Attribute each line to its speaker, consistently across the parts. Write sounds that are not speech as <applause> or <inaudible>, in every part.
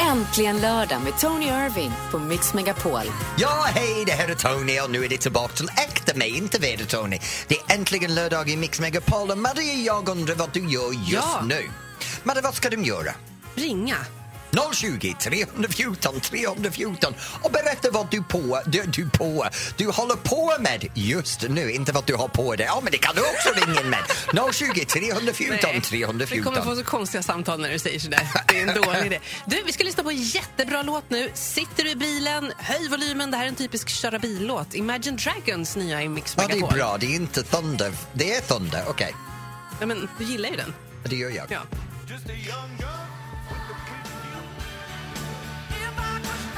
Speaker 1: Äntligen lördag med Tony Irving på Mix Megapol.
Speaker 2: Ja, hej, det här är Tony och nu är det tillbaka till äkta mig, inte väder Tony. Det är äntligen lördag i Mix Megapol och Maria, jag undrar vad du gör just
Speaker 3: Ja.
Speaker 2: nu. Maria, vad ska du göra?
Speaker 3: Ringa.
Speaker 2: 020 314 314 och berätta vad du på, du, du på, du håller på med just nu, inte vad du har på dig. Ja, men det kan du också ringa
Speaker 3: <laughs>
Speaker 2: in med. 020 314
Speaker 3: Vi
Speaker 2: 314.
Speaker 3: kommer få så konstiga samtal när du säger sådär. Det är en
Speaker 2: <laughs>
Speaker 3: dålig idé. Du, vi ska lyssna på en jättebra låt nu. Sitter du i bilen, höj volymen. Det här är en typisk köra bil-låt. Imagine Dragons nya i Mix
Speaker 2: Ja, det
Speaker 3: Megapol.
Speaker 2: är bra, det är inte Thunder. Det är Thunder, okej.
Speaker 3: Ja, men, du gillar ju den.
Speaker 2: Det gör jag.
Speaker 3: Ja.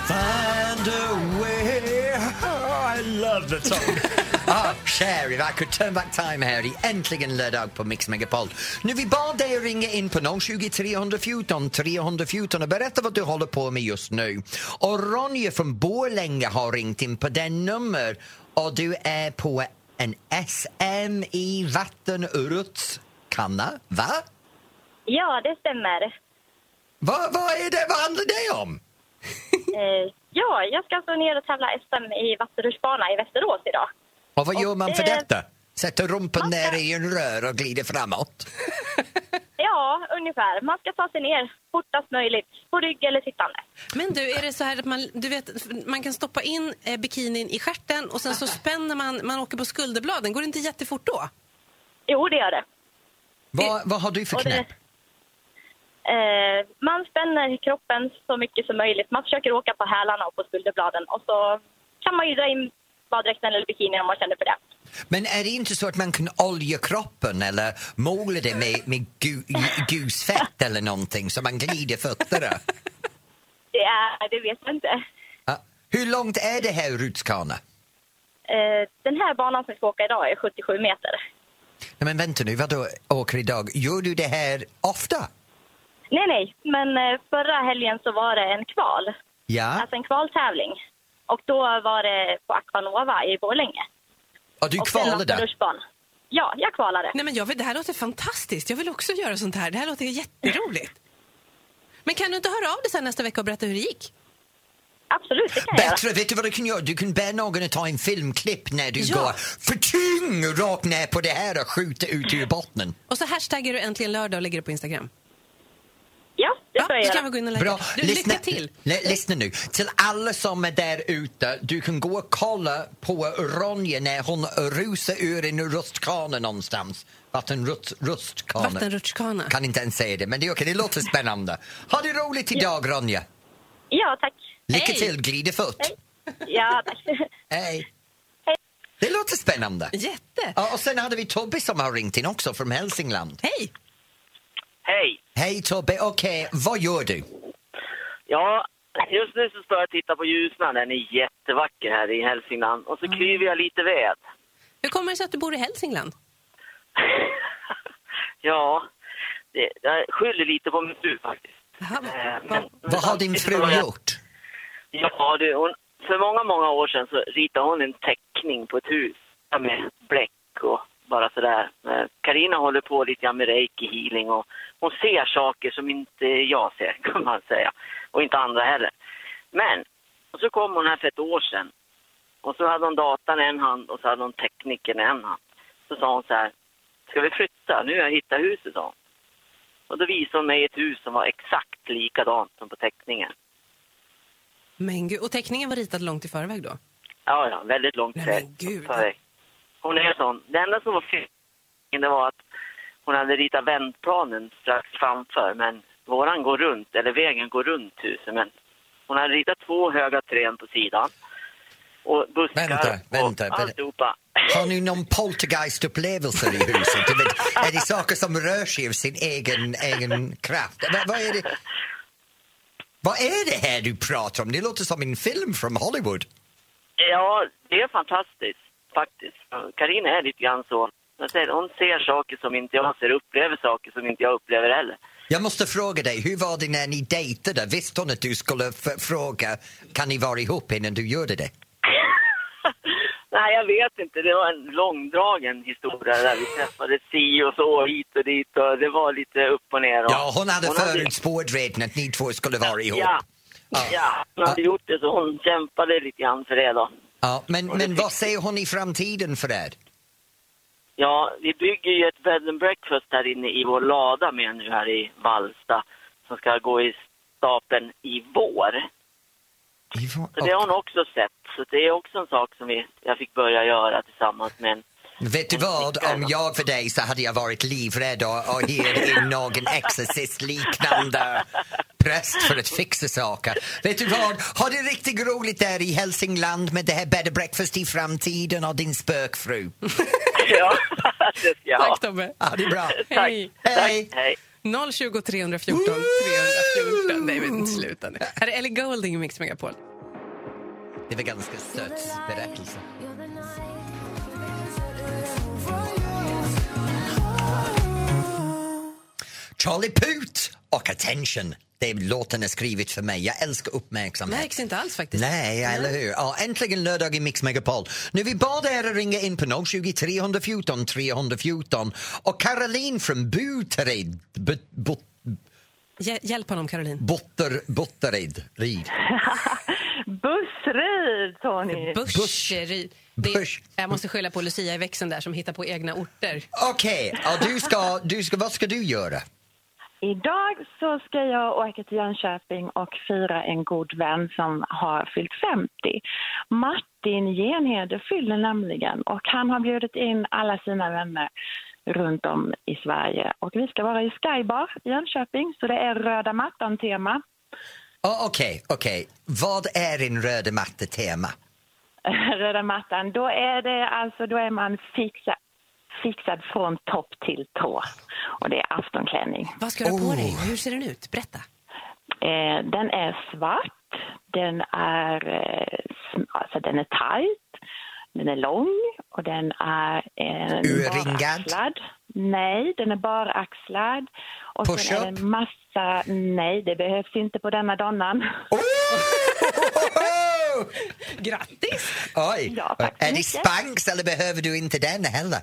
Speaker 2: Find a way. Oh, I love the song. <laughs> ah, Cher, if I could turn back time här i Äntligen lördag på Mix Megapol. Nu vi bad dig ringa in på 020 314 314 och berätta vad du håller på med just nu. Och Ronja från Borlänge har ringt in på den nummer och du är på en SM i vattenrutskanna, va?
Speaker 4: Ja, det stämmer.
Speaker 2: Vad va är det? Vad handlar det om?
Speaker 4: Eh, ja, jag ska alltså ner och tävla SM i vattenrutschbana i Västerås idag.
Speaker 2: Och vad gör man för
Speaker 4: det-
Speaker 2: detta? Sätter rumpan
Speaker 4: eh, Man ska-
Speaker 2: ner i en rör och glider framåt?
Speaker 4: Ja, ungefär. Man ska ta sig ner fortast möjligt, på rygg eller sittande.
Speaker 3: Men du, är det så här att man, du vet, man kan stoppa in eh, bikinin i stjärten och sen så spänner man, man åker på skulderbladen. Går det inte jättefort då?
Speaker 4: Jo, det gör det.
Speaker 2: Vad, vad har du för
Speaker 4: Och det-
Speaker 2: knep?
Speaker 4: Eh, man spänner kroppen så mycket som möjligt. Man försöker åka på hälarna och på skulderbladen. Och så kan man ju dra in baddräkten eller bikinin om man känner för det.
Speaker 2: Men är det inte så att man kan olja kroppen eller måla det med, med gu, gusfett eller någonting så man glider fötterna?
Speaker 4: Det, är, det vet jag inte.
Speaker 2: Ja. Hur långt är det här Rutskana?
Speaker 4: Eh, den här banan som vi ska åka idag är 77 meter.
Speaker 2: Nej men vänta nu, vadå åker idag? Gör du det här ofta?
Speaker 4: Nej, nej. Men eh, förra helgen så var det en kval.
Speaker 2: Ja,
Speaker 4: Alltså en kvaltävling. Och då var det på Aquanova i Borlänge.
Speaker 2: och du
Speaker 4: Och sen
Speaker 2: kvalade?
Speaker 4: vattenrutschbana. Ja, jag kvalade.
Speaker 3: Nej, men jag vill, det här låter fantastiskt. Jag vill också göra sånt här. Det här låter jätteroligt. Men kan du inte höra av dig sen nästa vecka och berätta hur det gick?
Speaker 4: Absolut, det kan jag göra.
Speaker 2: Bättre, vet du vad du kan göra? Du kan be någon att ta en filmklipp när du
Speaker 3: Ja.
Speaker 2: går för tyng rakt ner på det här och skjuta ut ur botten.
Speaker 3: Och så hashtaggar du äntligen lördag och lägger det på Instagram.
Speaker 4: Ja, det
Speaker 3: Ja,
Speaker 4: ska jag
Speaker 3: så kan vi
Speaker 4: göra.
Speaker 3: gå in och lägga.
Speaker 2: Bra.
Speaker 3: Du, lycka till.
Speaker 2: L- lyssna nu. Till alla som är där ute, du kan gå och kolla på Ronja när hon rusar ur en rustkana någonstans. Vattenrust, rustkana.
Speaker 3: Vattenrutschkana.
Speaker 2: Kan inte ens säga det, men det är okej. Det låter spännande. Ha det roligt idag, Ronja.
Speaker 4: Ja, tack.
Speaker 2: Lycka
Speaker 3: Hej.
Speaker 2: till, glidefot.
Speaker 4: Hej. Ja, tack.
Speaker 2: Hej.
Speaker 4: Hej.
Speaker 2: Det låter spännande.
Speaker 3: Jätte!
Speaker 2: Ja, och sen hade vi Tobbe som har ringt in också från Hälsingland.
Speaker 3: Hej!
Speaker 5: Hej!
Speaker 2: Hej Tobbe, okej, vad gör du?
Speaker 5: Ja, just nu så står jag och tittar på Ljusnan. Den är jättevacker här i Hälsingland. Och så
Speaker 2: Mm.
Speaker 5: klyver jag lite ved.
Speaker 3: Hur kommer det sig att du bor i Hälsingland?
Speaker 5: ja, det, jag skyller lite på min fru faktiskt.
Speaker 3: Jaha,
Speaker 5: Eh,
Speaker 3: va-
Speaker 5: men-
Speaker 2: Vad har din fru gjort?
Speaker 5: Ja, du, hon, för många, många år sedan så ritade hon en teckning på ett hus ja, med bläck och bara sådär. Eh, Karina håller på lite grann med reiki healing och hon ser saker som inte jag ser <laughs> kan man säga. Och inte andra heller. Men, och så kom hon här för ett år sedan. Och så hade hon datan i en hand och så hade hon tekniken i en hand. Så sa hon så här, ska vi flytta? Nu har jag hittat huset, sa hon. Och då visade hon mig ett hus som var exakt likadant som på teckningen.
Speaker 3: Men gud, och teckningen var ritad långt i förväg då?
Speaker 5: Ja, ja, väldigt långt
Speaker 3: Nej,
Speaker 5: väg.
Speaker 3: men gud.
Speaker 5: Väg. Hon är sån. Det enda som var fel det var att hon hade ritat vändplanen strax framför, men våran går runt, eller vägen går runt huset, men hon hade ritat två höga träd på sidan. Och buskar
Speaker 2: Vänta, vänta, vänta.
Speaker 5: och alltihopa. <laughs>
Speaker 2: Har ni någon poltergeist-upplevelse i huset? Du vet, är det saker som rör sig av sin egen, egen kraft? Vad, vad är det? Vad är det här du pratar om? Det låter som en film från Hollywood.
Speaker 5: Ja, det är fantastiskt faktiskt. Karina är lite grann så. Jag säger, hon ser saker som inte jag ser, upplever saker som inte jag upplever heller.
Speaker 2: Jag måste fråga dig, hur var det när ni dejtade? Visste hon att du skulle f- fråga kan ni vara ihop innan du gjorde det?
Speaker 5: Nej, jag vet inte. Det var en långdragen historia där. Vi träffades si och så, hit och dit och det var lite upp och ner. Och
Speaker 2: Ja, hon hade förutspått redan att ni två skulle vara ihop.
Speaker 5: Ja,
Speaker 2: Ja.
Speaker 5: ja, hon hade gjort det så hon kämpade lite grann för det då.
Speaker 2: Ja, men,
Speaker 5: Och det
Speaker 2: men
Speaker 5: fick-
Speaker 2: vad säger hon i framtiden för er?
Speaker 5: Ja, vi bygger ju ett bed and breakfast här inne i vår lada med nu här i Vallsta som ska gå i stapeln i vår.
Speaker 2: I vad-
Speaker 5: Så det har hon också sett. Så det är också en sak som vi, jag fick börja göra tillsammans med en
Speaker 2: Vet du vad, om jag för dig så hade jag varit livrädd och, och hyrt in <laughs> någon exorcist-liknande präst för att fixa saker. Vet du vad, ha det riktigt roligt där i Hälsingland med det här bed and breakfast i framtiden och din spökfru.
Speaker 5: Ja, <laughs> det ska jag ha.
Speaker 3: Tack Tobbe.
Speaker 2: Ha det <laughs> bra.
Speaker 5: Tack.
Speaker 3: Hej.
Speaker 2: Hej!
Speaker 5: Hej.
Speaker 3: 020 314 314. Nej, men sluta nu. Här är Ellie Goulding i Mix Megapol.
Speaker 2: Det var ganska söt berättelse. Charlie Put och Attention. Det är låten är skrivet för mig. Jag älskar uppmärksamhet.
Speaker 3: Märks inte alls faktiskt.
Speaker 2: Nej, eller hur? Ja, äntligen lördag i Mix Megapol. Nu vi bad er att ringa in på 020 314 314 och Caroline från Buterid, Bu- Bu-
Speaker 3: Hj- Hjälp honom Caroline.
Speaker 2: Butter, Butterid, Rid.
Speaker 6: Bussrid, Tony!
Speaker 3: Buscheryd. Det-
Speaker 2: Busch.
Speaker 3: Jag måste skylla på Lucia i växeln där som hittar på egna orter.
Speaker 2: Okej, och du ska, du ska, vad ska du göra?
Speaker 6: Idag så ska jag åka till Jönköping och fira en god vän som har fyllt 50. Martin Genhede fyller nämligen och han har bjudit in alla sina vänner runt om i Sverige. Och vi ska vara i Skybar i Jönköping, så det är röda mattan-tema. <laughs>
Speaker 2: Ja, Okej, okej. Vad är en röda matte-tema?
Speaker 6: röda mattan, då är, det alltså, då är man fixad, fixad från topp till tå. Och det är aftonklänning.
Speaker 3: Vad ska du ha på
Speaker 2: Oh.
Speaker 3: dig? Hur ser den ut? Berätta.
Speaker 6: Eh, den är svart, den är, eh, sm- alltså, den är tajt, den är lång och den är eh,
Speaker 2: Urringad?
Speaker 6: baraxlad. Nej, den är baraxlad. Och sen
Speaker 2: Push-up?
Speaker 6: är det en massa, nej det behövs inte på denna donnan. <laughs>
Speaker 2: Oh!
Speaker 3: Grattis!
Speaker 2: Oj!
Speaker 6: Ja, tack så
Speaker 2: är det
Speaker 6: mycket.
Speaker 2: spanks eller behöver du inte den heller?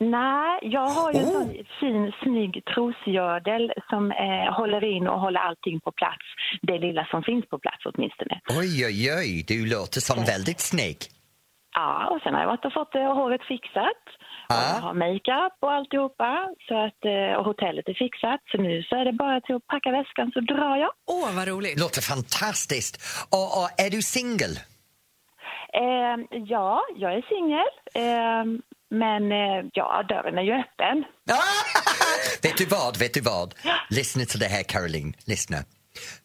Speaker 6: Nej, jag har ju en
Speaker 2: Oh.
Speaker 6: sån fin snygg trosgördel som eh, håller in och håller allting på plats. Det lilla som finns på plats åtminstone.
Speaker 2: Oj, oj, oj, du låter som väldigt snygg.
Speaker 6: Ja, och sen har jag varit och fått eh, håret fixat. Och
Speaker 2: Ja.
Speaker 6: jag har makeup och alltihopa. Så att, eh, och hotellet är fixat. Så nu så är det bara till att packa väskan så drar jag.
Speaker 3: Åh, vad roligt.
Speaker 2: Låter fantastiskt. Och, och är du singel?
Speaker 6: Eh, ja, jag är singel. Eh, men eh, ja, dörren är ju öppen. <laughs>
Speaker 2: vet du vad, vet du vad? Lyssna till det här Caroline, lyssna.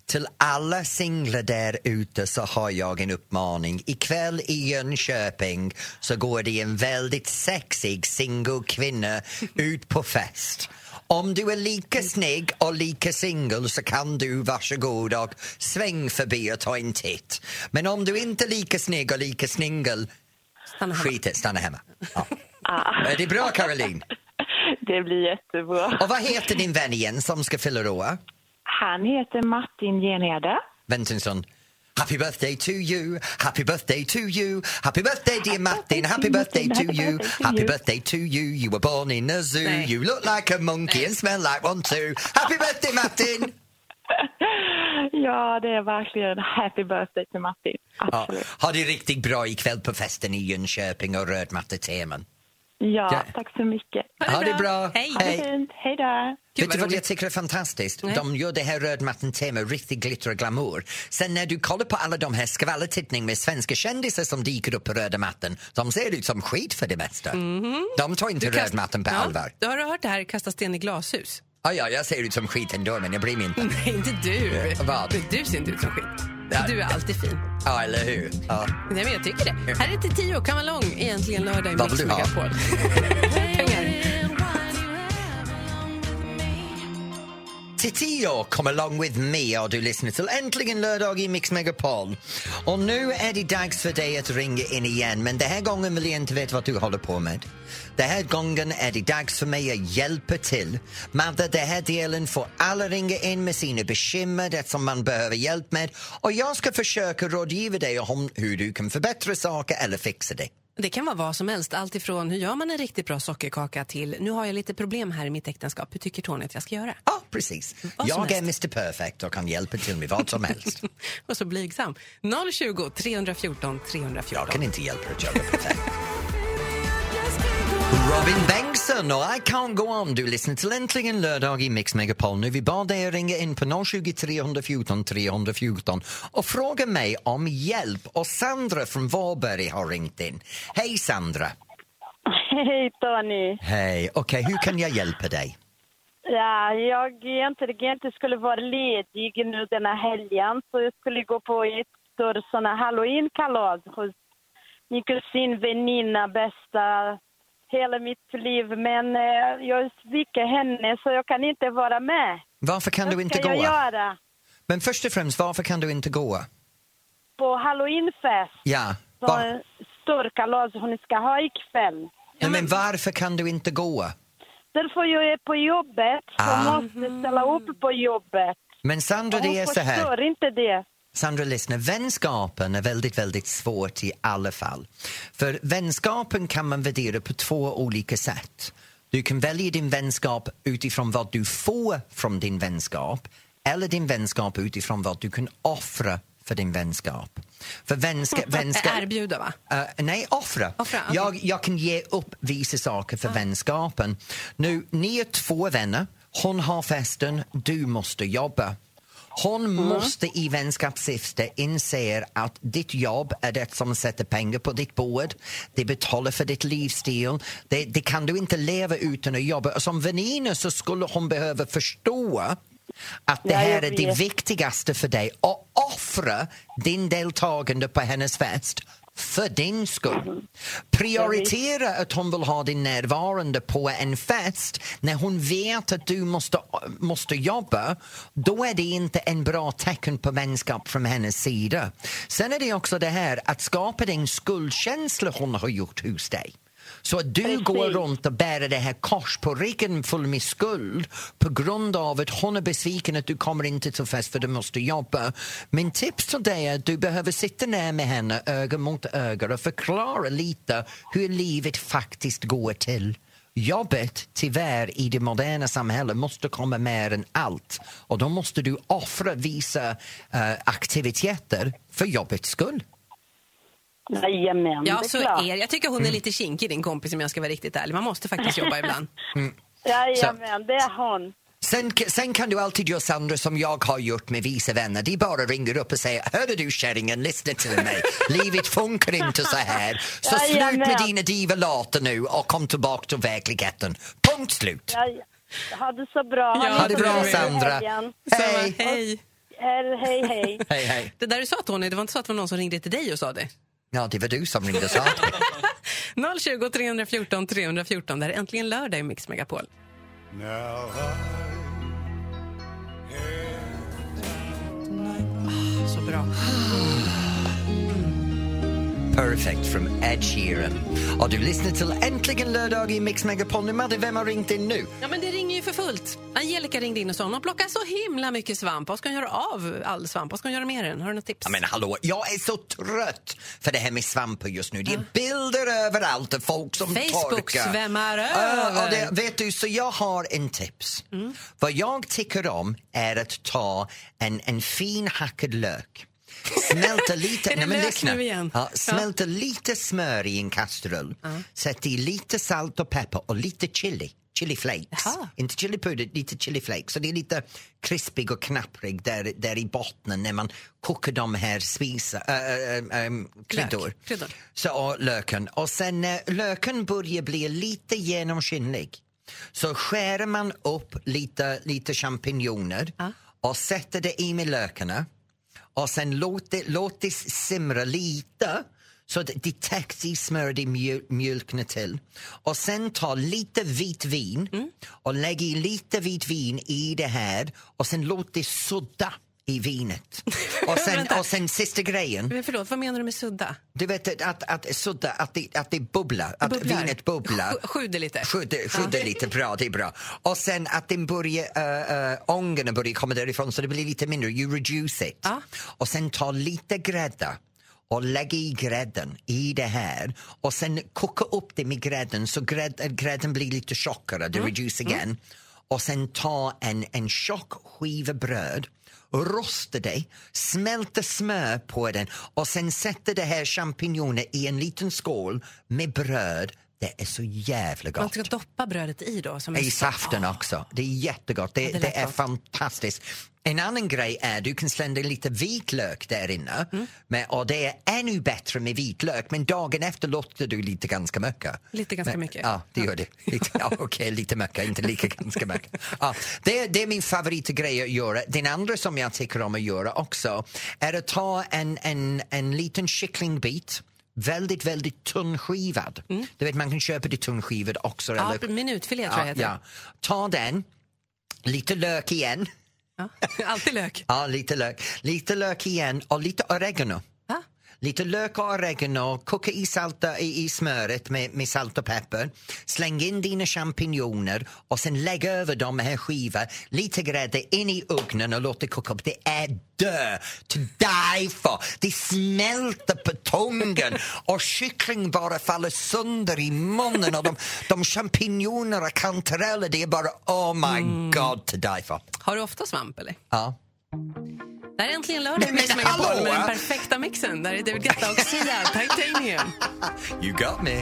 Speaker 2: Till alla singlar där ute så har jag en uppmaning. Ikväll i Jönköping så går det en väldigt sexig singelkvinna ut på fest. Om du är lika snygg och lika singel så kan du varsågod och sväng förbi och ta en titt. Men om du inte är lika snygg och lika singel,
Speaker 3: Stanna hemma.
Speaker 2: skit i det, stanna hemma. Ja.
Speaker 3: Ah.
Speaker 2: Är det bra Caroline?
Speaker 6: Det blir jättebra.
Speaker 2: Och vad heter din vän igen som ska fylla år?
Speaker 6: Han heter Martin Genhede.
Speaker 2: Ventinsson. Happy birthday to you, happy birthday to you, happy birthday dear Martin, happy birthday to you, happy birthday to you, you were born in a zoo,
Speaker 3: Nej.
Speaker 2: you look like a monkey and smell like one too. Happy birthday Martin!
Speaker 6: Ja, det är verkligen happy birthday till Martin.
Speaker 2: Ja,
Speaker 6: Absolut.
Speaker 2: ha det riktigt bra ikväll på festen i Jönköping och rödmatteteman.
Speaker 6: Ja,
Speaker 2: Ja.
Speaker 6: tack så mycket.
Speaker 2: Ha det bra!
Speaker 3: Hej.
Speaker 6: Ha det fint. Hej då.
Speaker 2: Vet
Speaker 3: vad
Speaker 2: du vad
Speaker 3: roligt.
Speaker 2: jag tycker är fantastiskt? De gör det här rödmattan-tema, riktig glitter och glamour. Sen när du kollar på alla de här skvallertittningarna med svenska kändisar som dyker upp på röda mattan, de ser ut som skit för det mesta. De tar inte röd mattan på
Speaker 3: Mhm. Ja,
Speaker 2: allvar.
Speaker 3: Då har du hört det här kasta sten i glashus. <laughs>
Speaker 2: Ja, ja, jag ser ut som skit ändå, men jag bryr mig inte.
Speaker 3: Nej, inte du.
Speaker 2: Ja, Eh, vad?
Speaker 3: Du ser inte ut som skit.
Speaker 2: Ja.
Speaker 3: Du är alltid fin.
Speaker 2: Ja, eller hur? Ja.
Speaker 3: Nej, men jag tycker det. Här är till tio, kan vara lång, egentligen lördag i
Speaker 2: Vad
Speaker 3: Mix
Speaker 2: vill du ha?
Speaker 3: Megapol.
Speaker 2: <laughs>
Speaker 3: Pengar.
Speaker 2: Till tio, come along with me och du lyssnar till Äntligen lördag i Mix Megapol. Och nu är det dags för dig att ringa in igen men den här gången vill jag inte veta vad du håller på med. Den här gången är det dags för mig att hjälpa till. Madde, den här delen får alla ringa in med sina bekymmer, det som man behöver hjälp med och jag ska försöka rådgiva dig om hur du kan förbättra saker eller fixa det.
Speaker 3: Det kan vara vad som helst. Allt ifrån hur gör man en riktigt bra sockerkaka till nu har jag lite problem här i mitt äktenskap. Hur tycker Tony att jag ska göra?
Speaker 2: Ja, precis.
Speaker 3: Vad som
Speaker 2: Jag är Mr Perfect och kan hjälpa till med vad som helst.
Speaker 3: Och så blygsam. 020 314 314.
Speaker 2: Jag kan inte hjälpa dig att göra perfekt. Robin Bengtsson och I can't go on. Du lyssnar till Äntligen lördag i Mix Megapol. Nu vi bad dig ringa in på 020 314 314 och fråga mig om hjälp. Och Sandra från Varberg har ringt in. Hej Sandra!
Speaker 7: <laughs> Hej Tony.
Speaker 2: Hej, okej hur kan jag hjälpa dig?
Speaker 7: Ja, jag egentligen inte skulle vara ledig nu den här helgen så jag skulle gå på ett stort sån här halloweenkalas hos min kusin, väninna, bästa hela mitt liv. Men eh, jag sviker henne så jag kan inte vara med.
Speaker 2: Varför kan du
Speaker 7: Vad
Speaker 2: inte
Speaker 7: ska jag
Speaker 2: gå?
Speaker 7: göra?
Speaker 2: Men först och främst, varför kan du inte gå?
Speaker 7: På halloweenfest.
Speaker 2: Ja,
Speaker 7: Så
Speaker 2: var...
Speaker 7: en stor kalas hon ska ha ikväll.
Speaker 2: Nej, men varför kan du inte gå?
Speaker 7: Därför jag är på jobbet, så
Speaker 2: Ah.
Speaker 7: måste ställa upp på jobbet.
Speaker 2: Men Sandra, det är så här.
Speaker 7: förstår inte det.
Speaker 2: Sandra, lyssna. Vänskapen är väldigt, väldigt svårt i alla fall. För vänskapen kan man värdera på två olika sätt. Du kan välja din vänskap utifrån vad du får från din vänskap eller din vänskap utifrån vad du kan offra för din vänskap. För vänska, vänska,
Speaker 3: Erbjuda
Speaker 7: Mm,
Speaker 3: va?
Speaker 2: Eh, nej, offra.
Speaker 3: Offra, okej. Ah.
Speaker 2: jag, jag kan ge upp vissa saker för vänskapen. Nu, ni är två vänner. Hon har festen, du måste jobba. Hon
Speaker 3: Mm.
Speaker 2: måste i vänskapssyfte inse att ditt jobb är det som sätter pengar på ditt bord. Det betalar för ditt livsstil. Det, det kan du inte leva utan att jobba. Och som väninna så skulle hon behöva förstå att det
Speaker 7: Ja, jag
Speaker 2: här är det
Speaker 7: vet.
Speaker 2: viktigaste för dig och offra din deltagande på hennes fest för din
Speaker 7: Mm.
Speaker 2: skull. Prioritera att hon vill ha din närvarande på en fest när hon vet att du måste, måste jobba. Då är det inte en bra tecken på vänskap från hennes sida. Sen är det också det här att skapa den skuldkänsla hon har gjort hos dig. Så att du går runt och bär det här kors på ryggen full med skuld på grund av att hon är besviken att du kommer inte till fest för du måste jobba. Min tips till dig är att du behöver sitta ner med henne öga mot öga och förklara lite hur livet faktiskt går till. Jobbet, tyvärr, i det moderna samhället måste komma mer än allt. Och då måste du offra vissa eh, aktiviteter för jobbets skull.
Speaker 7: Jajamän,
Speaker 3: Ja,
Speaker 7: det är
Speaker 3: så
Speaker 7: klart.
Speaker 3: är Jag tycker hon är lite kinkig din kompis om jag ska vara riktigt ärlig. Man måste faktiskt jobba ibland.
Speaker 7: <laughs> Jajamän, det är hon.
Speaker 2: Sen, sen kan du alltid göra Sandra som jag har gjort med vissa vänner. De bara ringer upp och säger Hörde du kärringen, lyssna till <laughs> mig. Livet funkar inte så här. Så
Speaker 7: Jajamän.
Speaker 2: slut med dina divalater nu och kom tillbaka till verkligheten. Punkt slut.
Speaker 7: Jag, ha det så bra.
Speaker 3: Ja,
Speaker 7: ni
Speaker 2: Ha det
Speaker 7: så
Speaker 2: bra
Speaker 7: i
Speaker 2: Sandra.
Speaker 7: helgen.
Speaker 2: Hej.
Speaker 3: Så, hej.
Speaker 7: Hej, hej, <laughs> hej.
Speaker 2: Hej, hej.
Speaker 3: Det där du sa Tony, det var inte så att det var någon som ringde till dig och sa det?
Speaker 2: Ja, det var du som ringde och sa det.
Speaker 3: 020 314 314. Det här är äntligen lördag i Mix Megapol. Ah, Så bra.
Speaker 2: Perfect from Ed Sheeran. Och du lyssnar till Äntligen lördag i Mix Megapol. Nu Madde, vem har ringt in nu?
Speaker 3: Ja, men det ringer ju för fullt. Angelica ringde in och sa hon plockar så himla mycket svamp. Vad ska hon göra av all svamp? Vad ska hon göra med den? Har du något tips?
Speaker 2: Ja, men hallå, jag är så trött för det här med svampar just nu. Det är bilder överallt av folk som
Speaker 3: Facebook
Speaker 2: torkar.
Speaker 3: svämmar
Speaker 2: Ja, och
Speaker 3: över. Mm.
Speaker 2: det, vet du, så jag har en tips. Vad jag tycker om är att ta en, en fin hackad lök
Speaker 3: <laughs>
Speaker 2: Smälta lite,
Speaker 3: Är det
Speaker 2: nej, men
Speaker 3: lök
Speaker 2: lyssna.
Speaker 3: nu igen?
Speaker 2: Ja, smälta lite smör i en kastrull. Sätt i lite salt och peppar och lite chili. Chili flakes.
Speaker 3: Jaha.
Speaker 2: Inte chili puder, lite chili flakes. Så det är lite krispig och knapprig där, där i botten när man kokar de här spisa, äh, äh, äh, kryddor.
Speaker 3: Lök, kryddor.
Speaker 2: Så, och löken. Och sen när löken börjar bli lite genomskinlig så skär man upp lite, lite champinjoner och sätter det i med lökarna och sen låt det, låt det simra lite så att det täcks i smör det mjöl, mjölknar till. Och sen ta lite vitt vin och lägg i lite vitt vin i det här och sen låt det sudda i vinet. Och sen, och sen sista grejen,
Speaker 3: Men förlåt, vad menar du med sudda?
Speaker 2: du vet att, att, att sudda, att det, att det bubblar, att
Speaker 3: Bubblar.
Speaker 2: vinet bubblar.
Speaker 3: Sj- sjuder lite.
Speaker 2: Sjuder, sjuder lite, bra, det är bra. Och sen att den börjar, äh, äh, ångorna börjar komma därifrån så det blir lite mindre, you reduce it.
Speaker 3: Ja.
Speaker 2: Och sen ta lite grädde och lägga i grädden i det här och sen koka upp det med grädden så grädd, äh, grädden blir lite tjockare, det reduce igen. Och sen ta en, en tjock skiva bröd rosta det, smälta smör på den och sen sätta det här champinjoner i en liten skål med bröd. Det är så jävla
Speaker 3: Man
Speaker 2: gott.
Speaker 3: ska doppa brödet i då? Som en-
Speaker 2: I saften också. Det är jättegott. Det,
Speaker 3: det
Speaker 2: det,
Speaker 3: lät
Speaker 2: är
Speaker 3: gott.
Speaker 2: fantastiskt. En annan grej är du kan slänga lite vitlök där inne.
Speaker 3: Mm.
Speaker 2: Men, och det är ännu bättre med vitlök men dagen efter låter du lite ganska mycket.
Speaker 3: Lite ganska
Speaker 2: men,
Speaker 3: mycket.
Speaker 2: Ja, det gör det. Lite, ja, Okej, lite mycket, inte lika ganska mycket. Ja, det, det är min favoritgrej att göra. Den andra som jag tycker om att göra också är att ta en, en, en liten kycklingbit Väldigt, väldigt tunnskivad. Du vet, man kan köpa det tunnskivad också.
Speaker 3: Mm. Ja,
Speaker 2: eller
Speaker 3: minutfilé tror jag heter
Speaker 2: ja. Ta den, lite lök igen.
Speaker 3: det. <laughs> Alltid lök.
Speaker 2: Ja, lite lök. Lite lök igen och lite oregano.
Speaker 3: Ja.
Speaker 2: Lite lök och oregano, koka i, salta, i, i smöret med, med salt och peppar. Släng in dina champinjoner och sen lägg över dem med här skiva, lite grädde in i ugnen och låt det koka upp. Det är dö to die for. Det smälter på tungen och kyckling bara faller sönder i munnen och de, de champinjoner och kantareller, det är bara oh my god to die for.
Speaker 3: Har du ofta svamp eller?
Speaker 2: Ja.
Speaker 3: Det här är äntligen lördag
Speaker 2: Nej,
Speaker 3: i Mix
Speaker 2: men
Speaker 3: Megapol
Speaker 2: hallå!
Speaker 3: med den perfekta mixen. Där är David Guetta och Sia, Titanium.
Speaker 2: You got me.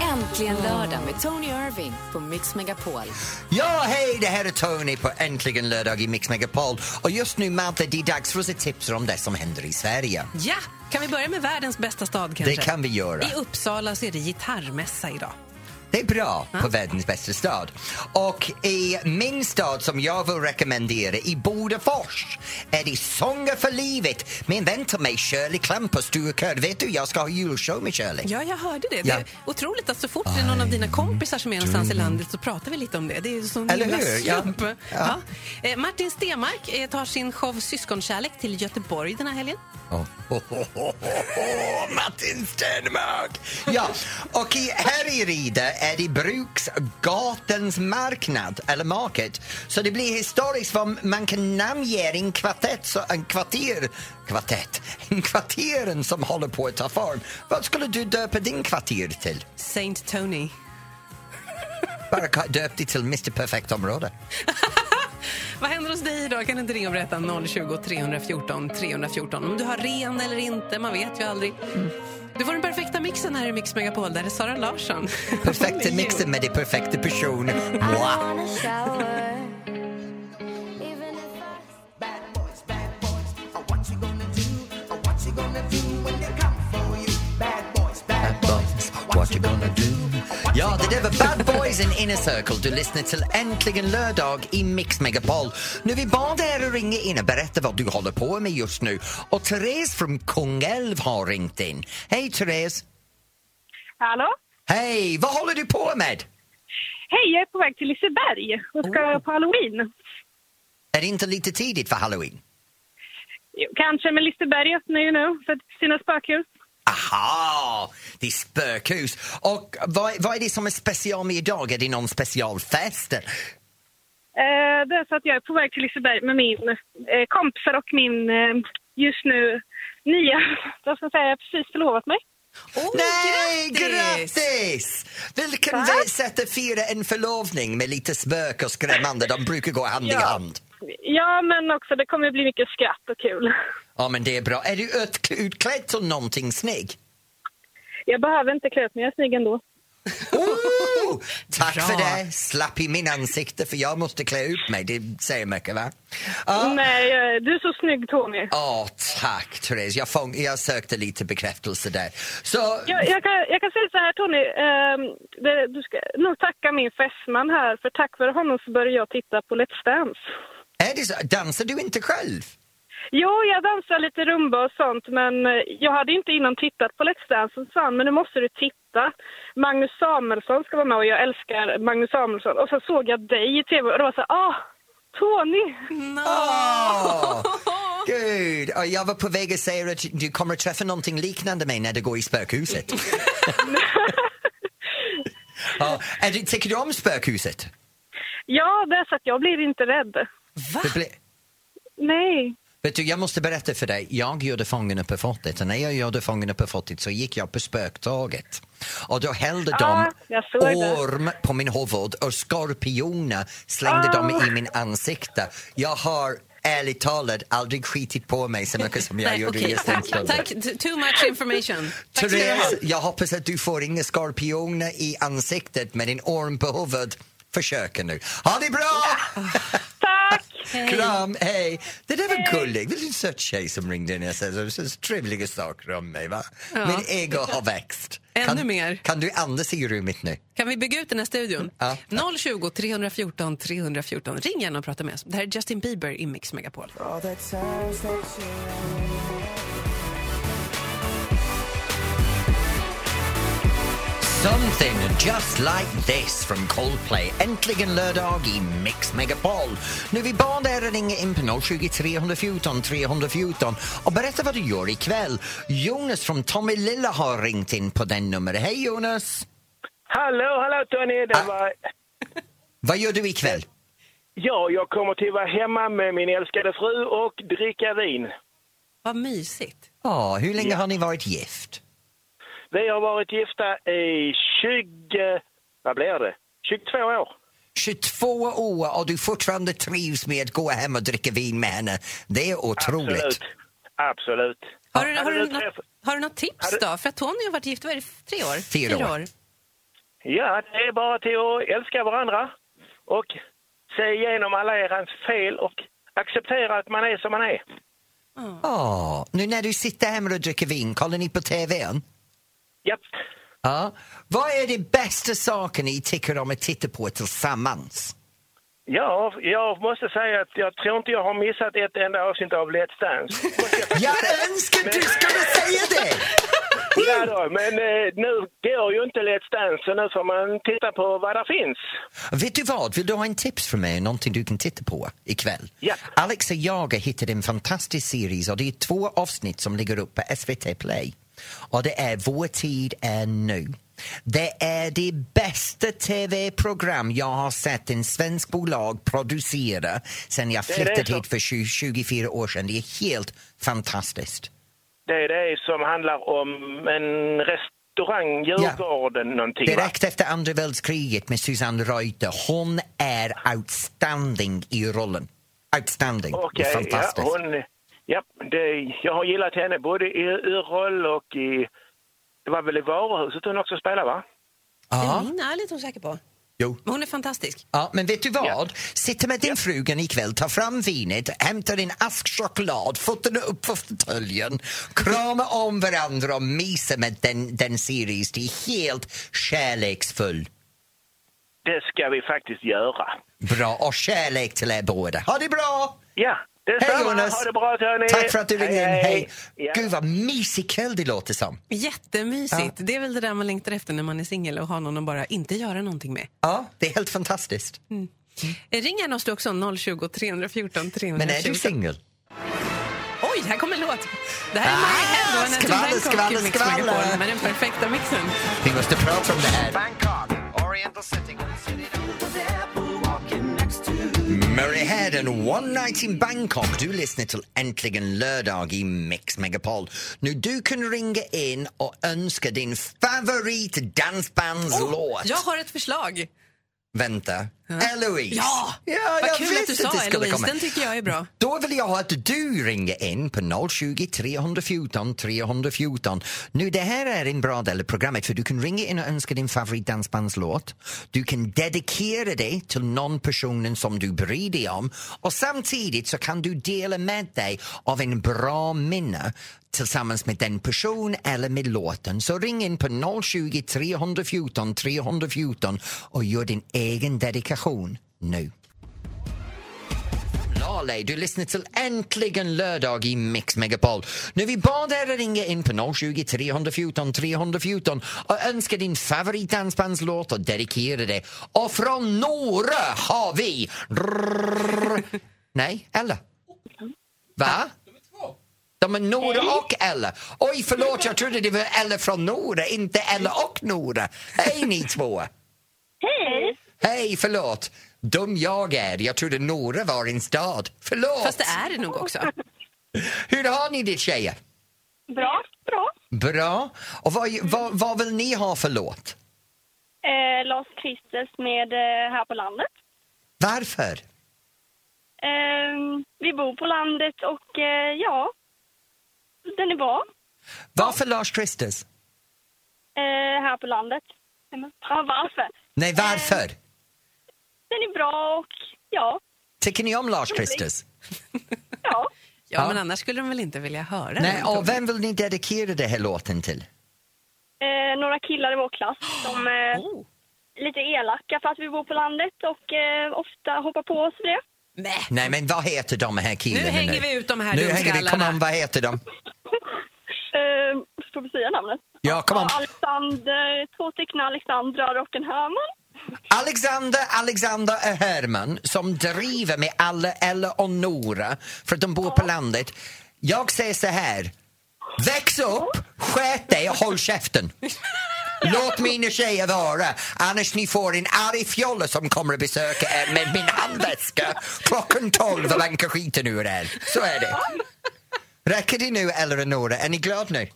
Speaker 1: Äntligen lördag med Tony Irving på Mix Megapol.
Speaker 2: Ja, hej, det här är Tony på Äntligen lördag i Mix Megapol. Och just nu, Madde, det är dags för oss att tipsa om det som händer i Sverige.
Speaker 3: Ja, kan vi börja med världens bästa stad kanske?
Speaker 2: Det kan vi göra.
Speaker 3: I Uppsala så är det gitarrmässa idag.
Speaker 2: Det är bra på världens bästa stad. Och i min stad som jag vill rekommendera, i Bodafors, är det Sånger för livet. Men vänta mig, Shirley Clamp på Sturekör. Vet du, jag ska ha julshow med Shirley.
Speaker 3: Ja, jag hörde det. Det
Speaker 2: Ja.
Speaker 3: är otroligt att så fort det är någon av dina kompisar som är någonstans i landet så pratar vi lite om det. Det är ju sån
Speaker 2: Eller
Speaker 3: himla
Speaker 2: hur? Ja.
Speaker 3: slump. Ja.
Speaker 2: Ja.
Speaker 3: Eh, Martin Stenmark eh, tar sin show Syskonkärlek till Göteborg den här helgen.
Speaker 2: Oh. Oh, oh, oh, oh, <laughs> Martin Stenmark! Ja, och i, här i Ride är det Bruksgatens marknad, eller market. Så det blir historiskt vad man kan namnge en kvartett, så- en kvarter, kvartett, en kvarteren som håller på att ta form. Vad skulle du döpa din kvarter till?
Speaker 3: Saint Tony.
Speaker 2: Bara ka- döp det till Mr Perfect område.
Speaker 3: Vad händer hos dig idag? Kan du inte ringa och berätta 020 314 314 om du har ren eller inte? Man vet ju aldrig. Du får den perfekta mixen här i Mix Megapol. Där är Sara Larsson.
Speaker 2: Perfekta mixen med det perfekta person. Mwah. Bad boys, what you gonna do? Ja, det där var Bad Boys in Inner Circle. Du lyssnar till Äntligen lördag i Mix Megapol. Nu vi bad er att ringa in och berätta vad du håller på med just nu. Och Therese från Kungälv har ringt in. Hej Therese!
Speaker 7: Hallå?
Speaker 2: Hej! Vad håller du på med? Oh.
Speaker 7: Hej, jag är på väg till Liseberg och ska på halloween.
Speaker 2: Är det inte lite tidigt för halloween?
Speaker 7: Jo, Kanske, men Liseberg öppnar ju nu för sina spökhus.
Speaker 2: Aha! Det är spökhus. Och vad, vad är det som är special med idag? Är det någon specialfest?
Speaker 7: Eh, Det är så att jag är på väg till Liseberg med min eh, kompisar och min eh, just nu nya, vad ska jag säga, jag har precis förlovat mig.
Speaker 3: Oh,
Speaker 2: Nej, grattis! Vilken
Speaker 7: Tack.
Speaker 2: väg sätt att fira en förlovning med lite spök och skrämmande. De brukar gå hand i
Speaker 7: Ja.
Speaker 2: hand.
Speaker 7: Ja, men också det kommer bli mycket skratt och kul.
Speaker 2: Ja, men det är bra. Är du ut- utklädd till någonting snygg?
Speaker 7: Jag behöver inte klä ut mig, jag är snygg ändå.
Speaker 2: Ooh! Oh! Tack
Speaker 3: Bra.
Speaker 2: för det. Slapp i min ansikte för jag måste klä ut mig. Det säger mycket, va? Ja.
Speaker 4: Mm.
Speaker 7: Nej, eh, du är så snygg Tony.
Speaker 2: Ja, tack Therese. Jag, fång- jag sökte lite bekräftelse där. Så,
Speaker 7: Jag, jag, kan, jag kan säga så här Tony, ehm, det, du ska nog tacka min fästman här för tack vare honom så började jag titta på Let's Dance.
Speaker 2: är det så? Dansar du inte själv?
Speaker 7: Jo, jag dansar lite rumba och sånt, men eh, jag hade inte innan tittat på Let's Dance. och Så han, men nu måste du titta. Magnus Samuelsson ska vara med och jag älskar Magnus Samuelsson. Och så såg jag dig i tv och det var så här, ah, Tony!
Speaker 2: Åh, Ah. Gud, och jag var på väg att säga att du kommer att träffa någonting liknande mig när du går i spökhuset. ja, är du, tycker du om spökhuset?
Speaker 7: Ja, det är så att jag blir inte rädd.
Speaker 3: Va?
Speaker 2: Det blir,
Speaker 7: Nej.
Speaker 2: Vet du, jag måste berätta för dig, jag gjorde Fångarna på fortet och när jag gjorde Fångarna på fortet så gick jag på spöktåget. Och då hällde
Speaker 3: Ah,
Speaker 7: Ja,
Speaker 2: de
Speaker 7: jag såg det.
Speaker 2: orm på min huvud och skorpioner slängde
Speaker 3: Ah.
Speaker 2: de i min ansikte. Jag har ärligt talat aldrig skitit på mig så mycket som jag
Speaker 3: Nej,
Speaker 2: gjorde
Speaker 3: okej.
Speaker 2: just den
Speaker 3: Tack,
Speaker 2: stunden.
Speaker 3: tack. T- Too much information. Tack ska du ha.
Speaker 2: Therese, jag hoppas att du får inga skorpioner i ansiktet med din orm på huvudet. Försök nu. Ha det bra!
Speaker 7: Tack!
Speaker 2: Kram, hej! Det där var gulligt. Det är en söt tjej som ringde in och sa så så trevliga saker om mig. Va? Min ego har växt.
Speaker 3: Ännu
Speaker 2: kan,
Speaker 3: mer.
Speaker 2: Kan du andas i rummet nu?
Speaker 3: Kan vi bygga ut den här studion?
Speaker 2: Ja.
Speaker 3: 020 314 314. Ring gärna och prata med oss. Det här är Justin Bieber i Mix Megapol.
Speaker 2: Something just like this from Coldplay. Äntligen lördag i Mix Megapol. Nu vi bad er att ringa in på 020 314 314 och berätta vad du gör ikväll. Jonas från Tommy Lilla har ringt in på den numret. Hej Jonas!
Speaker 8: Hallå, hallå Tony! Det
Speaker 2: Ah.
Speaker 8: var...
Speaker 2: Vad gör du ikväll?
Speaker 8: Ja, jag kommer till vara hemma med min älskade fru och dricka vin.
Speaker 3: Vad mysigt.
Speaker 2: Ja, hur länge har ni varit gift?
Speaker 8: Vi har varit gifta i 20... Vad blir det? 22 år.
Speaker 2: 22 år och du fortfarande trivs med att gå hem och dricka vin med henne. Det är otroligt.
Speaker 8: Absolut. Absolut.
Speaker 3: Har du, har,
Speaker 8: Hade
Speaker 3: du
Speaker 8: du träff-
Speaker 3: något, har du något tips
Speaker 8: Hade-
Speaker 3: då? För att Tony har varit gift, vad är det, tre år?
Speaker 2: Fyra år.
Speaker 8: Ja, det är bara till att älska varandra och se igenom alla era fel och acceptera att man är som man är.
Speaker 2: Ja, nu när du sitter hemma och dricker vin, kollar ni på TVn?
Speaker 8: Japp.
Speaker 2: Ja. Vad är det bästa saken ni tycker om att titta på tillsammans?
Speaker 8: Ja, jag måste säga att jag tror inte jag har missat ett enda avsnitt av Let's Dance. Måste jag
Speaker 2: Jag önskar du skulle säga det!
Speaker 8: Ja då, men eh, nu går ju inte Let's Dance så nu får man titta på vad det finns.
Speaker 2: Vet du vad, vill du ha en tips från mig, någonting du kan titta på ikväll?
Speaker 8: Ja.
Speaker 2: Alex och jag hittade en fantastisk serie och det är två avsnitt som ligger uppe på SVT Play. Och det är Vår tid är nu. Det är det bästa tv-program jag har sett en svensk bolag producera sen jag
Speaker 8: Det är det
Speaker 2: flyttade
Speaker 8: som-
Speaker 2: hit för 20, 24 år sedan. Det är helt fantastiskt.
Speaker 8: Det är det som handlar om en restaurang, Djurgården, någonting va?
Speaker 2: Direkt efter andra världskriget med Susanne Reuter. Hon är outstanding i rollen. Outstanding. Det är
Speaker 8: Okej, ja,
Speaker 2: fantastiskt.
Speaker 8: hon... Ja, det, jag har gillat henne både i Urroll och i... Det var väl i Varuhuset hon också spelade va?
Speaker 3: Ja.
Speaker 2: Ja.
Speaker 3: Min är jag lite osäker på.
Speaker 2: Jo.
Speaker 3: Men hon är fantastisk.
Speaker 2: Ja, men vet du vad? Sitta med din frugan ikväll, ta fram vinet, hämta din ask choklad, fötterna upp för fåtöljen, krama om varandra och mysa med den, den series. Det är helt kärleksfull.
Speaker 8: Det ska vi faktiskt göra.
Speaker 2: Bra, och kärlek till er båda. Ha det bra!
Speaker 8: Ja,
Speaker 2: Hej
Speaker 8: detsamma.
Speaker 2: Jonas!
Speaker 8: ha det bra Tony!
Speaker 2: Tack för att du ringde in. Hej.
Speaker 8: Ja.
Speaker 2: Gud vad mysig kväll det låter som.
Speaker 3: Jättemysigt. Det är väl det där man längtar efter när man är singel och har någon att bara inte göra någonting med.
Speaker 2: Ja, det är helt fantastiskt.
Speaker 3: Eh, Ring gärna oss du också, 020 314 314.
Speaker 2: Men är du singel?
Speaker 3: Oj, här kommer en låt. Det här är Mary
Speaker 2: Ah,
Speaker 3: Head och Anette
Speaker 2: skvaller, skvaller,
Speaker 3: Bangkok i Mix
Speaker 2: skvaller.
Speaker 3: Megapol med den perfekta mixen.
Speaker 2: Vi måste prata om det här. Murray Head and One Night in Bangkok. Du lyssnar till Äntligen lördag i Mix Megapol. Nu du kan ringa in och önska din favorit dansbandslåt.
Speaker 3: Oh, Jag har ett förslag.
Speaker 2: Vänta. Eloise.
Speaker 3: Ja, vad
Speaker 2: jag
Speaker 3: kul
Speaker 2: visste
Speaker 3: att du sa
Speaker 2: det skulle
Speaker 3: Eloise.
Speaker 2: komma.
Speaker 3: Den tycker jag är bra.
Speaker 2: Då vill jag ha att du ringer in på 020 314 314. Nu, det här är en bra del av programmet för du kan ringa in och önska din favoritdansbandslåt. Du kan dedikera dig till någon personen som du bryr dig om och samtidigt så kan du dela med dig av en bra minne tillsammans med den person eller med låten. Så ring in på 020 314 314 och gör din egen dedikation nu. Lale, du lyssnar till Äntligen lördag i Mix Megapol. Nu vi bad er att ringa in på 020 314 314 och önska din favoritdansbandslåt och dedikera det. Och från några har vi... Nej, Ella. Va? De är Nora och Ella. Oj, förlåt, jag trodde det var Ella från Nora, inte Ella och Nora. Hej ni två!
Speaker 4: Hej!
Speaker 2: Hej, förlåt. Dum jag är. Jag trodde Nora var en stad. Förlåt.
Speaker 3: Fast det är det nog också.
Speaker 2: Hur har ni det tjejer?
Speaker 4: Bra, bra.
Speaker 2: Bra. Och vad, vad, vad vill ni ha för låt?
Speaker 4: Eh, Lars Kristers med eh, Här på landet.
Speaker 2: Varför?
Speaker 4: Eh, vi bor på landet och eh, ja, den är bra.
Speaker 2: Varför Lars Christers?
Speaker 4: Eh, här på landet. Ja, varför?
Speaker 2: Nej, varför?
Speaker 4: Den är bra och ja,
Speaker 2: Tycker ni om Lars Christers?
Speaker 4: ja.
Speaker 3: Ja,
Speaker 2: Ja.
Speaker 3: men annars skulle de väl inte vilja höra
Speaker 2: Nej,
Speaker 3: den?
Speaker 2: och vem vill ni dedikera den här låten till?
Speaker 4: Eh, några killar i vår klass som eh,
Speaker 3: Oh.
Speaker 4: är lite elaka för att vi bor på landet och eh, ofta hoppar på oss det.
Speaker 3: Nej.
Speaker 2: Nej, men vad heter de här killarna nu?
Speaker 3: hänger vi ut de här
Speaker 2: Nu hänger vi, kom
Speaker 3: dumskallarna.
Speaker 2: on, vad heter de?
Speaker 4: Eh, ska vi säga namnet?
Speaker 2: Ja, kom on.
Speaker 4: Alexander, två stycken Alexandrar och en Herman.
Speaker 2: Alexander, Alexander och Herman som driver med alla Ella och Nora för att de bor på landet. Jag säger så här. Väx upp, skärp dig och håll käften. Låt mina tjejer vara, annars ni får en arg fjolle som kommer att besöka er med min handväska klockan tolv och vankar skiten ur er. Så är det. Räcker det nu, Ella och Nora? Är ni glada nu?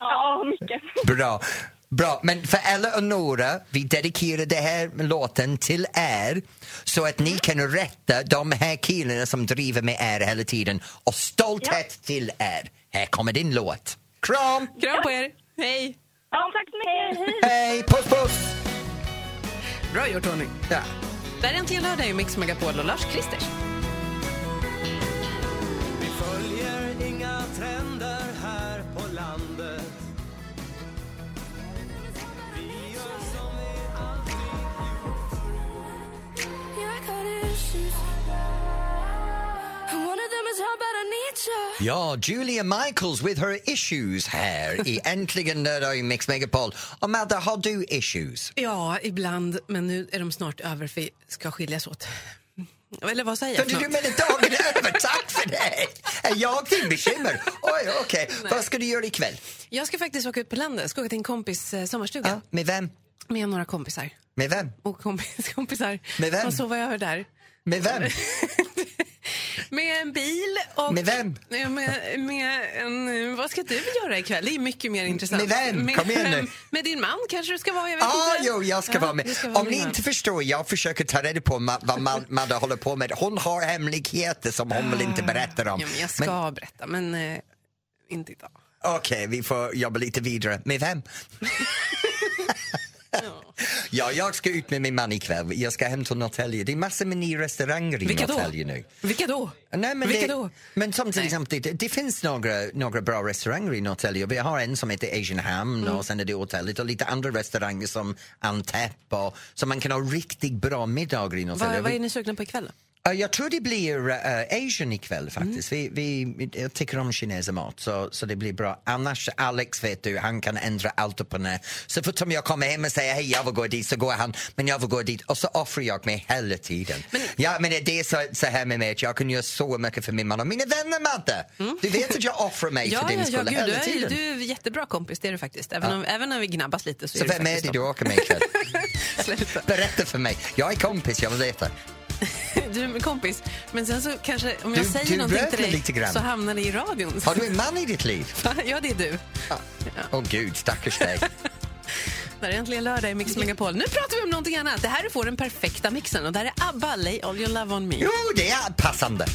Speaker 4: Ja, mycket.
Speaker 2: Bra. Bra, men för Ella och Nora, vi dedikerar den här låten till er så att ni kan rätta de här killarna som driver med er hela tiden. Och stolthet till er. Här kommer din låt. Kram!
Speaker 3: Kram på er. Hej.
Speaker 4: Ja, tack så mycket. Hej.
Speaker 2: Hej! Puss, puss!
Speaker 3: Bra gjort, Tony.
Speaker 2: Ja.
Speaker 3: Där är äntligen lördag i Mix Megapol och Lars Christer.
Speaker 2: ja, Julia Michaels with her issues här i Äntligen lördag i Mix Megapol. Och Madde, har du issues?
Speaker 3: Ja, ibland. Men nu är de snart över för vi ska skiljas åt. Eller vad säger jag?
Speaker 2: Kunde
Speaker 3: för
Speaker 2: du
Speaker 3: något?
Speaker 2: med dagen är över? Tack för det! Är jag din bekymmer? Oj, okej. Vad ska du göra ikväll?
Speaker 3: Jag ska faktiskt åka ut på landet. Jag ska åka till en kompis eh, sommarstuga
Speaker 2: Ja, med vem?
Speaker 3: med några kompisar.
Speaker 2: Med vem?
Speaker 3: Och kompis, <laughs> kompisar.
Speaker 2: Med vem?
Speaker 3: Och sova
Speaker 2: <laughs>
Speaker 3: över där.
Speaker 2: Med
Speaker 3: <laughs>
Speaker 2: vem?
Speaker 3: Med en bil och...
Speaker 2: Med vem?
Speaker 3: Nej, Med, med en... Vad ska du göra ikväll? Det är mycket mer
Speaker 2: Med
Speaker 3: intressant.
Speaker 2: vem? Kom igen nu.
Speaker 3: <laughs> Med din man kanske du ska vara. Jag vet
Speaker 2: Ah,
Speaker 3: inte.
Speaker 2: jo, jag ska
Speaker 3: Ja,
Speaker 2: vara
Speaker 3: du
Speaker 2: med.
Speaker 3: ska vara
Speaker 2: Om ni
Speaker 3: med din man.
Speaker 2: inte förstår, jag försöker ta reda på ma- vad Ma- Madde håller på med. Hon har hemligheter som hon väl inte berättar om.
Speaker 3: Ja, Ah. men jag ska berätta, men eh, inte idag.
Speaker 2: Okej, vi får jobba lite vidare. Med
Speaker 3: <laughs>
Speaker 2: vem? ja, jag ska ut med min man ikväll. Jag ska hem till Norrtälje. Det är massor med nya restauranger i
Speaker 3: Vilka då?
Speaker 2: Norrtälje nu.
Speaker 3: Vilka då?
Speaker 2: Nej, men
Speaker 3: Vilka
Speaker 2: det,
Speaker 3: då?
Speaker 2: Men som till exempel, det, det finns några, några bra restauranger i Norrtälje. Vi har en som heter Asian Ham
Speaker 3: Mm.
Speaker 2: och sen är det hotellet och lite andra restauranger som Antep och så man kan ha riktigt bra middagar i
Speaker 3: Vad, vad är
Speaker 2: Norrtälje.
Speaker 3: ni sugna på ikväll? då?
Speaker 2: Ja, Eh, Jag tror det blir uh, Asian ikväll faktiskt.
Speaker 3: Mm.
Speaker 2: Vi, vi, jag tycker om kinesermat så, så det blir bra. Annars, Alex vet du, han kan ändra allt upp och ner. Så fort som jag kommer hem och säger hej jag vill gå dit så går han, men jag vill gå dit och så offrar jag mig hela tiden. Ja, men det är så, så här med mig att jag kan göra så mycket för min man och mina vänner Madde. Du vet att jag offrar mig för
Speaker 3: Mm. Ja,
Speaker 2: din
Speaker 3: ja, ja
Speaker 2: skull
Speaker 3: gud, du,
Speaker 2: hela
Speaker 3: är, ju-
Speaker 2: tiden.
Speaker 3: du är jättebra kompis, det är du faktiskt. Även, om, även när vi gnabbas lite så,
Speaker 2: Så
Speaker 3: är du
Speaker 2: vem är
Speaker 3: faktiskt
Speaker 2: det du
Speaker 3: dem.
Speaker 2: åker med
Speaker 3: <laughs>
Speaker 2: ikväll?
Speaker 3: Sluta.
Speaker 2: Berätta för mig. Jag är kompis, jag vill veta.
Speaker 3: <laughs> Du är min kompis. Men sen så kanske, om
Speaker 2: Du-
Speaker 3: jag
Speaker 2: du
Speaker 3: säger någonting
Speaker 2: bröt
Speaker 3: till
Speaker 2: mig
Speaker 3: dig
Speaker 2: lite grann.
Speaker 3: så hamnar det i radion.
Speaker 2: Har du en man i ditt liv?
Speaker 3: <laughs> Ja, det är du.
Speaker 2: Åh oh, gud, stackars dig.
Speaker 3: Där är äntligen lördag i Mix Megapol. Nu pratar vi om någonting annat. Det här är får den perfekta mixen och där är ABBA, Lay All Your Love On Me.
Speaker 2: Jo, det är passande.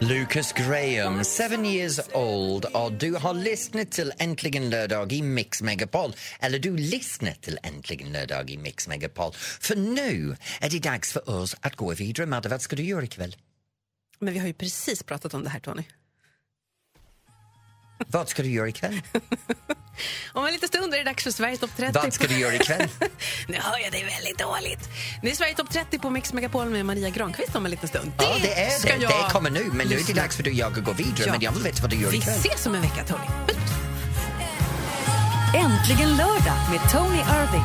Speaker 2: Lucas Graham, seven years old och du har lyssnat till Äntligen lördag i Mix Megapol. Eller du lyssnar till Äntligen lördag i Mix Megapol. För nu är det dags för oss att gå vidare. Madde, vad ska du göra ikväll?
Speaker 3: Men vi har ju precis pratat om det här, Tony.
Speaker 2: Vad ska du göra ikväll?
Speaker 3: Om en liten stund är det dags för Sveriges topp 30.
Speaker 2: Vad ska du göra ikväll?
Speaker 3: <laughs> Nu hör jag dig väldigt dåligt. Det är Sverige topp 30 på Mix Megapol med Maria Granqvist om en liten stund.
Speaker 2: Ja, det är
Speaker 3: ska
Speaker 2: det.
Speaker 3: jag
Speaker 2: Det kommer nu. Men nu är det
Speaker 3: lyssna.
Speaker 2: dags för dig och jag att gå vidare.
Speaker 3: Ja.
Speaker 2: Men jag vill veta vad du gör
Speaker 3: Vi
Speaker 2: ikväll.
Speaker 3: ses om en vecka, Tony.
Speaker 1: Äntligen lördag med Tony Irving.